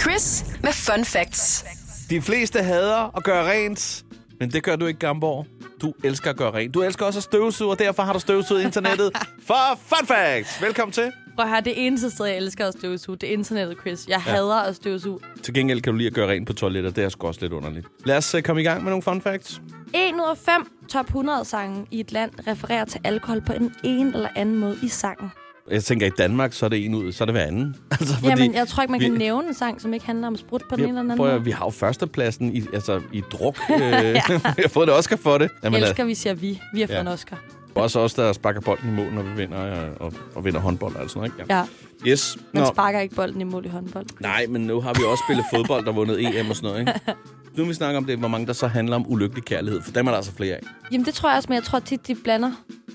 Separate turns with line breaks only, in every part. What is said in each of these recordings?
Chris med Fun Facts.
De fleste hader at gøre rent, men det gør du ikke, Gamborg. Du elsker at gøre rent. Du elsker også at støvsuge, og derfor har du støvsuget internettet for Fun Facts. Velkommen til.
Prøv her, det eneste sted, jeg elsker at støvsuge, det er internettet, Chris. Jeg ja. hader at støvsuge.
Til gengæld kan du lide at gøre rent på toiletter. Det er sgu også lidt underligt. Lad os øh, komme i gang med nogle Fun Facts.
1 ud af 5 top 100 sange i et land refererer til alkohol på en ene eller anden måde i sangen.
Jeg tænker, i Danmark, så er det en ud, så er det hver anden. Altså,
Fordi Jamen, jeg tror ikke, man
vi-
kan nævne en sang, som ikke handler om sprut på den ene eller den
vi,
anden
prøv,
måde.
at- vi har jo førstepladsen i, altså, i druk. Øh, Jeg har fået et Oscar for det. Jamen,
elsker, vi siger vi. Vi har fået
Ja.
ja. en Oscar.
Også os, der sparker bolden i mål, når vi vinder, øh, og, og vinder håndbold og sådan noget. Ikke?
Ja,
Ja. Yes.
man
Nå.
sparker ikke bolden i mål i håndbold.
Nej, men nu har vi også spillet fodbold, der vundet EM og sådan noget, ikke? Nu vil vi snakke om det, hvor mange der så handler om ulykkelig kærlighed, for dem er der altså flere af.
Jamen, det tror jeg også, men jeg tror tit, de blander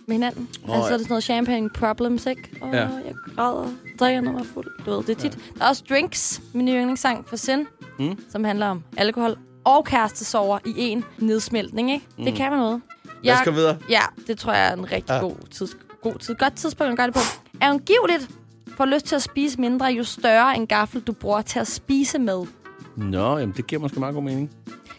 med hinanden.
Nå,
Oh, altså, så
ja.
er det sådan noget champagne problems, ikke? Åh, oh,
Ja.
ja. jeg græder, drikker, når jeg er fuld. Du ved, det er tit. Ja. Der er også Drinks, min nye yndlingssang for Sin,
Mm.
mm. som handler om alkohol og kærestesover i en nedsmeltning, ikke? Mm. Det kan man noget.
Jeg skal videre.
Ja, det tror jeg er en rigtig
Ja.
ja. god, tids, god tid. Godt tidspunkt at gøre det på. Angiveligt får lyst til at spise mindre, jo større en gaffel du bruger til at spise med.
Nå, jamen det giver måske meget god mening.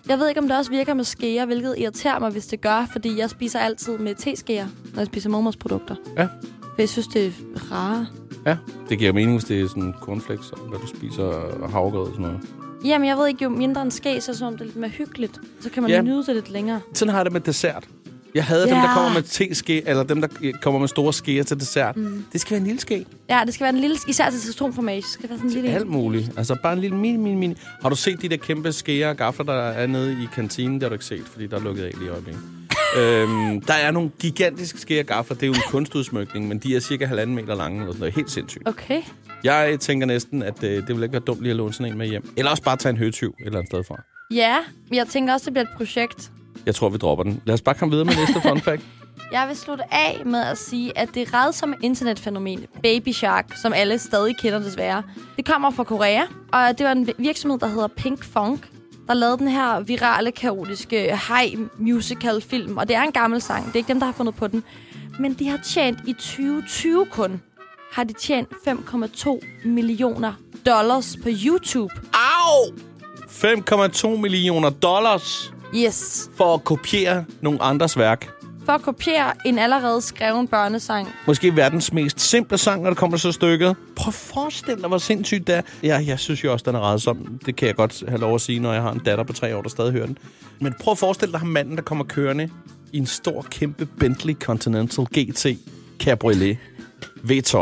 Jeg ved ikke, om det også virker med skeer, hvilket irriterer mig, hvis det gør, fordi jeg spiser altid med teskeer, når jeg spiser mormors produkter.
Ja.
For jeg synes, det er rare.
Ja, det giver mening, hvis det er sådan cornflakes, og hvad du spiser, og havregrød og sådan noget.
Jamen, jeg ved ikke, jo mindre en ske, så er det som om det er lidt mere hyggeligt. Så kan man
Ja.
ja. nyde det lidt længere.
Sådan har jeg det med dessert. Jeg havde dem,
Ja.
der kommer med teske, eller dem, der øh, kommer med store skeer til dessert. Mm. Det skal være en lille ske.
Ja, det skal være en lille, især til citronformage. Det skal være sådan en lille... en.
Alt muligt. Altså bare en lille mini, mini, mini. Har du set de der kæmpe skeer og gafler, der er nede i kantinen? Det har du ikke set, fordi der er lukket af lige i øjeblikket. øhm, der er nogle gigantiske skeer og gafler. Det er jo en kunstudsmykning, men de er cirka halvanden meter lange. Eller sådan noget. Helt sindssygt.
Okay.
Jeg tænker næsten, at øh, det vil ikke være dumt lige at låne sådan en med hjem. Eller også bare tage en høtyv et eller andet sted fra.
Ja, men jeg tænker også, det bliver et projekt.
Jeg tror, vi dropper den. Lad os bare komme videre med næste fun fact.
Jeg vil slutte af med at sige, at det rædsomme internetfænomen, Baby Shark, som alle stadig kender desværre, det kommer fra Korea, og det var en virksomhed, der hedder Pink Funk, der lavede den her virale, kaotiske high musical film, og det er en gammel sang, det er ikke dem, der har fundet på den, men de har tjent i 2020 kun, har de tjent 5,2 millioner dollars på YouTube.
Au! 5,2 millioner dollars
Yes.
for at kopiere nogle andres værk.
For at kopiere en allerede skreven børnesang.
Måske verdens mest simple sang, når det kommer til stykket. Prøv at forestille dig, hvor sindssygt det er. Ja, jeg synes jo også, den er rædsom. Det kan jeg godt have lov at sige, når jeg har en datter på tre år, der stadig hører den. Men prøv at forestille dig ham manden, der kommer kørende i en stor, kæmpe Bentley Continental GT Cabriolet V12. Blæste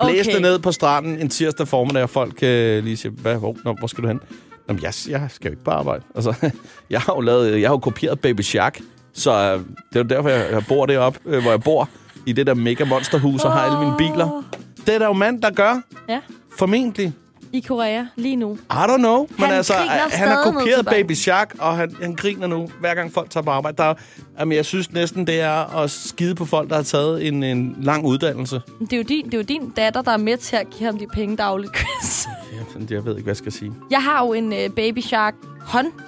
Okay.
ned på stranden en tirsdag formiddag, og folk øh, lige siger, Hvad, hvor, nå, hvor skal du hen? Jamen, jeg, jeg skal jo ikke på arbejde. Altså, jeg har jo, lavet, jeg har jo kopieret Baby Shark, så øh, det er jo derfor, jeg, jeg bor deroppe, øh, hvor jeg bor, i det der mega monsterhus, og har alle mine biler. Det er der jo mand, der gør,
Ja,
formentlig.
i Korea lige nu.
I don't know, men
Han
altså,
griner
han har
stadig ned
kopieret
til børn.
Baby Shark, og han, han griner nu, hver gang folk tager på arbejde. Der, er- jamen, jeg synes næsten, det er at skide på folk, der har taget en, en lang uddannelse.
Det er, jo din, det er jo din datter, der er med til at give ham de penge dagligt, Chris.
Jamen, Jeg ved ikke, hvad jeg skal sige.
Jeg har jo en øh, Baby Shark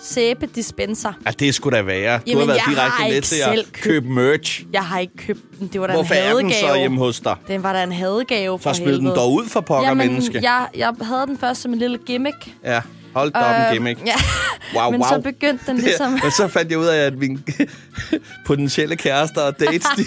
håndsæbedispenser.
Ja, det skulle da være. Du
Jamen,
har været
jeg
direkte
har
med
ikke
til at
selv købt-
købe merch.
Jeg har ikke købt den. Det var da
Hvorfor
en
er den
hadegave.
så hjemme hos dig?
den var da en hadegave for
Så smid den dog ud for pokker,
Jamen,
menneske.
Jeg, jeg havde den først som en lille gimmick.
Ja, hold da op en gimmick.
Øh, Ja,
Wow,
men
wow.
så begyndte den ligesom...
Men så fandt jeg ud af, at mine potentielle kærester og dates, de,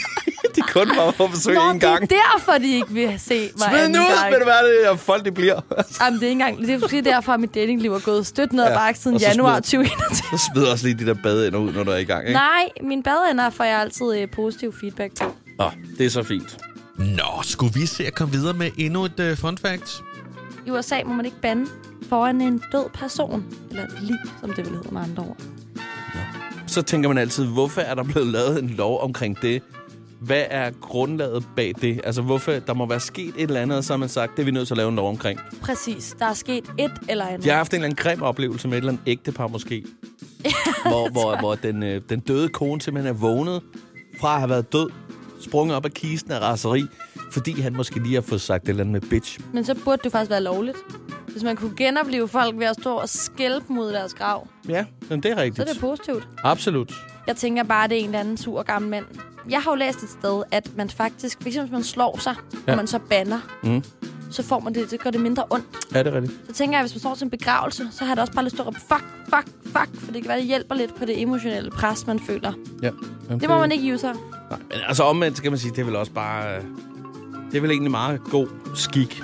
de kun var på besøg
Nå,
en gang.
det er derfor, de ikke vil se mig
Smid den
anden
ud,
gang.
men hvad er det, at folk de bliver?
Jamen, det er ikke engang... Det er måske derfor, at mit datingliv er gået stødt ned ad
Ja,
bakke siden
og så smid-
januar 2021.
Så smider også lige de der badeender ud, når du er i gang, ikke?
Nej, min badeender får jeg altid øh, positiv feedback til.
Nå, det er så fint.
Nå, skulle vi se at komme videre med endnu et uh, fun fact?
I USA må man ikke bande foran en død person. Eller et lig, som det vil hedde med andre ord.
Så tænker man altid, hvorfor er der blevet lavet en lov omkring det? Hvad er grundlaget bag det? Altså, hvorfor der må være sket et eller andet, og så har man sagt, det er vi nødt til at lave en lov omkring.
Præcis. Der er sket et eller andet.
Jeg har haft en eller anden grim oplevelse med et eller andet ægtepar måske. hvor, hvor, hvor den, øh, den døde kone simpelthen er vågnet fra at have været død, sprunget op af kisten af raseri, fordi han måske lige har fået sagt et eller andet med bitch.
Men så burde det faktisk være lovligt. Hvis man kunne genopleve folk ved at stå og skælde dem ud af deres grav,
Ja, men det er
så er
rigtigt.
det positivt.
Absolut.
Jeg tænker bare, at det er en eller anden sur gammel mand. Jeg har jo læst et sted, at man faktisk, hvis man slår sig, ja. og man så banner,
Mm.
så får man det, det gør det mindre ondt.
Ja, det er rigtigt.
Så tænker jeg, at hvis man står til en begravelse, så har jeg da også bare lyst til at råbe, fuck, fuck, fuck, for det kan være, det hjælper lidt på det emotionelle pres, man føler.
Ja. Jamen,
Det må man ikke give sig.
Nej, men altså omvendt, så kan man sige, det er vel også bare... øh, Det er vel egentlig meget god skik.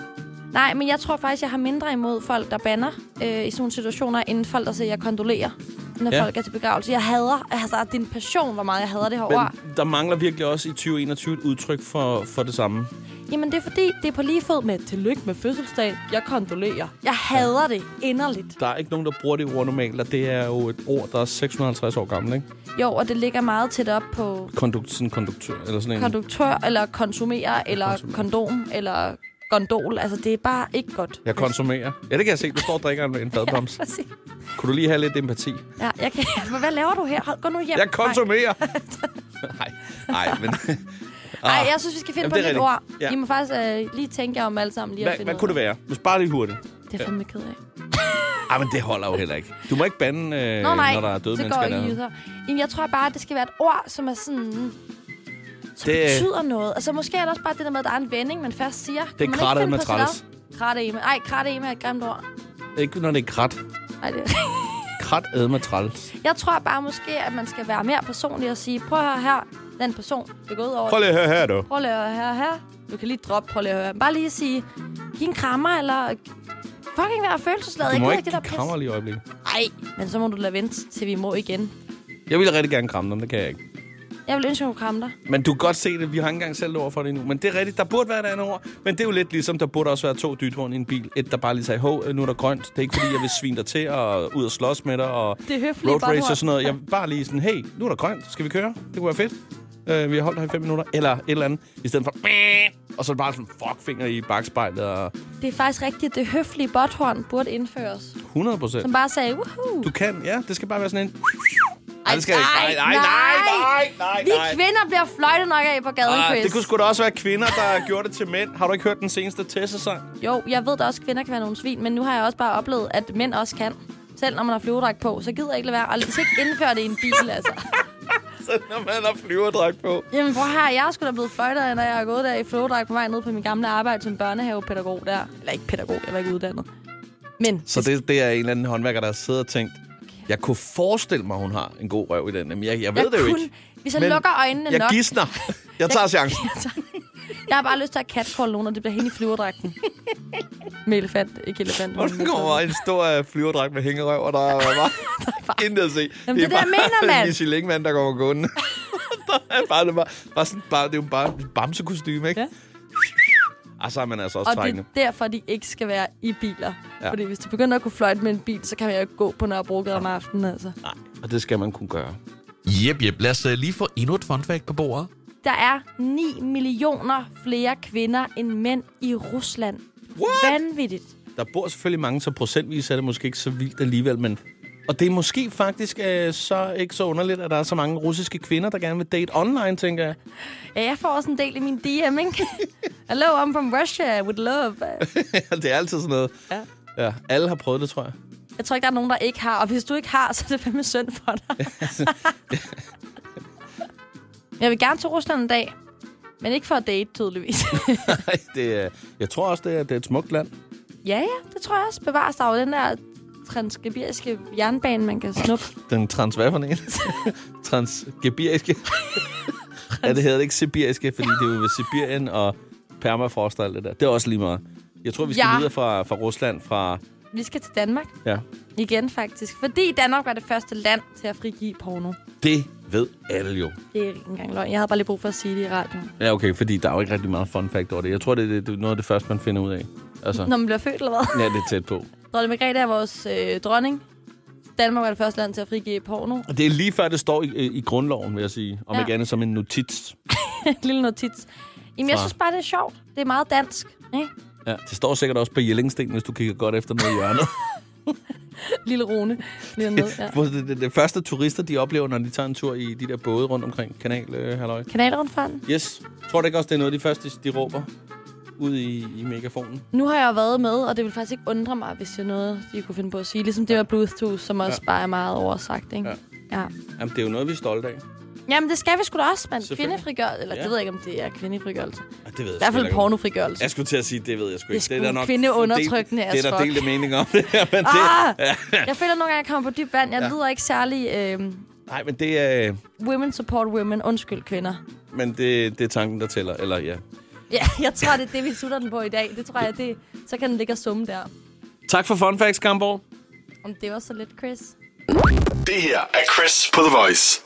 Nej, men jeg tror faktisk, jeg har mindre imod folk, der banner øh, i sådan nogle situationer, end folk, der siger, jeg kondolerer, når
Ja.
ja. folk er til begravelse. Jeg hader, altså, din passion, hvor meget jeg hader det her
Men
ord.
der mangler virkelig også i 2021 et udtryk for, for det samme.
Jamen, det er fordi, det er på lige fod med, tillykke med fødselsdagen, jeg kondolerer. Jeg hader ja. det inderligt.
Der er ikke nogen, der bruger det ord normalt, og det er jo et ord, der er 650 år gammelt, ikke?
Jo, og det ligger meget tæt op på
Kondukt, sådan en konduktør, eller sådan en.
konduktør, eller konsumerer, eller
Konsumerer.
kondom, eller gondol. Altså, det er bare ikke godt.
jeg konsumerer. Ja, det kan jeg se. Du står og drikker en en fadbams.
Præcis.
Kunne du lige have lidt empati?
Ja, jeg kan... Hvad laver du her? Hold- Gå nu hjem.
Jeg konsumerer! Nej, nej, men...
Nej, jeg synes, vi skal finde
Ah. Jamen,
på
det er
et nyt ord.
rigtigt. Ja.
I må faktisk øh, lige tænke jer om alle sammen. Lige at
Ah, Hvad,
finde
hvad
ud
kunne Øh,
af.
det være? Hvis bare lige hurtigt.
Det er fandme ked af.
Ej, men det holder jo heller ikke. Du må ikke bande, øh,
Nå nej,
når der er døde
så
mennesker.
går jeg
dernede.
ikke videre. Jamen, jeg tror bare, at det skal være et ord, som er sådan... Som
Det-
det... betyder noget. Altså, måske er det også bare det der med, at der er en vending, man først siger. Kan
Det er
man ikke
kratte
finde
med
på sit
træls.
eget? Kratte Ej, kratte er et grimt ord.
Ikke når det er krat.
Ej, det...
Krat ad med træls.
Jeg tror bare måske, at man skal være mere personlig og sige, prøv at høre her, den person, det går ud over.
Prøv lige at høre her, du.
prøv lige at høre her, her. Du kan lige droppe, prøv lige at høre. Bare lige sige, giv en krammer, eller fucking være følelsesladet.
Du må
gider
ikke
det der
give krammer lige i øjeblikket.
pis. Ej, men så må du lade vente, til vi må igen.
Jeg ville rigtig gerne kramme dem, det kan jeg ikke.
Jeg vil ønske, at du kramme dig.
Men du kan godt se det, vi har ikke engang selv ord for det endnu. Men det er rigtigt, der burde være et andet ord. Men det er jo lidt ligesom, der burde også være to dythorn i en bil. Et, der bare lige sagde, hov, nu er der grønt. Det er ikke fordi, jeg vil svine dig til og ud og slås med dig og
Det er høfligt,
road
bare
race
nu-
og sådan noget. Jeg vil bare lige sådan, hey, nu er der grønt. Skal vi køre? Det kunne være fedt. Øh, vi har holdt her i fem minutter. Eller et eller andet. I stedet for, "Mæh!" og så bare sådan, fuck, finger i bagspejlet og
Det er faktisk rigtigt, at det høflige botthorn burde indføres.
100 procent.
Som bare sagde, woohoo.
Du kan, ja. Det skal bare være sådan en... Ej, det skal
nej,
ikke. Nej, nej, nej, nej, nej,
Vi
nej.
kvinder bliver fløjtet nok af på gaden,
Ah,
Chris.
det kunne sgu da også være kvinder, der gjorde det til mænd. Har du ikke hørt den seneste Tessa-sang?
Jo, jeg ved da også, at kvinder kan være nogle svin, men nu har jeg også bare oplevet, at mænd også kan. Selv når man har flyvedragt på, så gider jeg ikke lade være. Og hvis ikke indføre det i en bil, altså.
Så når man har flyverdragt på.
Jamen, prøv her, jeg er sgu da blevet fløjtet, af, når jeg er gået der i flyvedragt på vej ned på min gamle arbejde som børnehavepædagog der. Eller ikke pædagog, jeg var ikke uddannet. Men
Så det, det er en eller anden håndværker, der har siddet og tænkt, jeg kunne forestille mig, hun har en god røv i den. Men jeg, jeg ved det jo ikke.
Hvis jeg
Men
lukker øjnene
Jeg
nok...
gisner. Jeg tager chancen.
Jeg har bare lyst til at catcall nogen, og det bliver hende i flyverdragten. med elefant, ikke elefant.
Og
men
der
med
kommer bare en stor øh, flyverdragt med hængerøv, og der er bare intet at se.
Jamen, det er det, jeg
bare
mener, mand.
Lissi Lingman, der kommer gående. der er bare, det, er bare, bare sådan, bare, det er jo bare et bamsekostyme, ikke? Ja.
Ja.
Og så er man altså også
Og det
trængende.
er derfor, de ikke skal være i biler.
Ja.
Ja. Fordi hvis du begynder at kunne fløjte med en bil, så kan jeg jo ikke gå på Nørrebrogade om aftenen, altså.
Nej, og det skal man kunne gøre.
Jep, jep. Lad os øh, lige få endnu et fun fact på bordet.
Der er 9 millioner flere kvinder end mænd i Rusland.
What?
Vanvittigt.
Der bor selvfølgelig mange, så procentvis er det måske ikke så vildt alligevel, men... Og det er måske faktisk øh, så ikke så underligt, at der er så mange russiske kvinder, der gerne vil date online, tænker jeg.
Ja, jeg får også en del i min DM, ikke? Hello, I'm from Russia with love.
det er altid sådan noget.
Ja.
ja. Alle har prøvet det, tror jeg.
Jeg tror ikke, der er nogen, der ikke har. Og hvis du ikke har, så er det fandme synd for dig. jeg vil gerne til Rusland en dag. Men ikke for at date, tydeligvis.
Nej, det er, jeg tror også, det er, det er et smukt land.
ja, ja, det tror jeg også. Bevares der er jo den der transsibiriske jernbane, man kan snuppe.
Den trans hvad for en? Transgebiriske. ja, det hedder det ikke sibiriske, fordi det er jo ved Sibirien og permafrost og alt det der. Det er også lige meget. Jeg tror, vi skal
Ja.
videre fra, fra Rusland, fra...
Vi skal til Danmark
Ja,
igen, faktisk. Fordi Danmark var det første land til at frigive porno.
det ved alle jo.
Det er ikke engang løgn. Jeg havde bare lige brug for at sige det i radioen.
Ja, okay, fordi der er jo ikke rigtig meget fun fact over det. Jeg tror, det er, det er noget af det første, man finder ud af. Altså,
Når man bliver født, eller hvad?
ja, det er tæt på.
Dronning Margrethe er vores øh, dronning. Danmark var det første land til at frigive porno.
Og det er lige før, det står i, øh, i grundloven, vil jeg sige. Om ja.
Ja.
ikke andet som en notits.
Lille notits. Jamen, jeg
Fra-
synes bare, det er sjovt. Det er meget dansk. Ikke?
Ja, det står sikkert også på Jellingsten, hvis du kigger godt efter ned i hjørnet.
Lille Rune. Lige hernede, ja.
Hvor det, det, det første turister, de oplever, når de tager en tur i de der både rundt omkring kanal, øh, halløj.
Kanalrundfarten.
Yes. Tror du ikke også, det er noget af de første, de råber ud i, i megafonen?
Nu har jeg jo været med, og det vil faktisk ikke undre mig, hvis det er noget, de kunne finde på at sige. Ligesom det med Bluetooth, som også ja. bare er meget oversagt, ikke?
Ja.
Ja. ja.
Jamen, det er jo noget, vi er stolte af.
Jamen, det skal vi sgu da også, mand.
Selvfølgelig.
Kvindefrigørelse. Eller, ja.
Ja.
det ved jeg ikke, om det er kvindefrigørelse.
Ja, Det ved jeg
I hvert
sgu
fald
ikke.
pornofrigørelse.
Jeg skulle til at sige, det ved jeg sgu
Det er
ikke.
sgu kvindeundertrykkende
delt- Det er
as
der
fuck.
delte mening om det her, men
Ah!
det...
Jeg føler nogle gange, jeg kommer på dyb vand. Jeg
Ja.
ja. lyder ikke særlig... Øh,
Nej, men det er...
women support women. Undskyld, kvinder.
Men det, det er tanken, der tæller. Eller ja.
Ja, jeg tror, det er det, vi sutter den på i dag. Det tror jeg, det, så kan den ligge og summe der.
Tak for fun facts, Gamborg.
Om det var så lidt, Chris.
Det her er Chris på The Voice.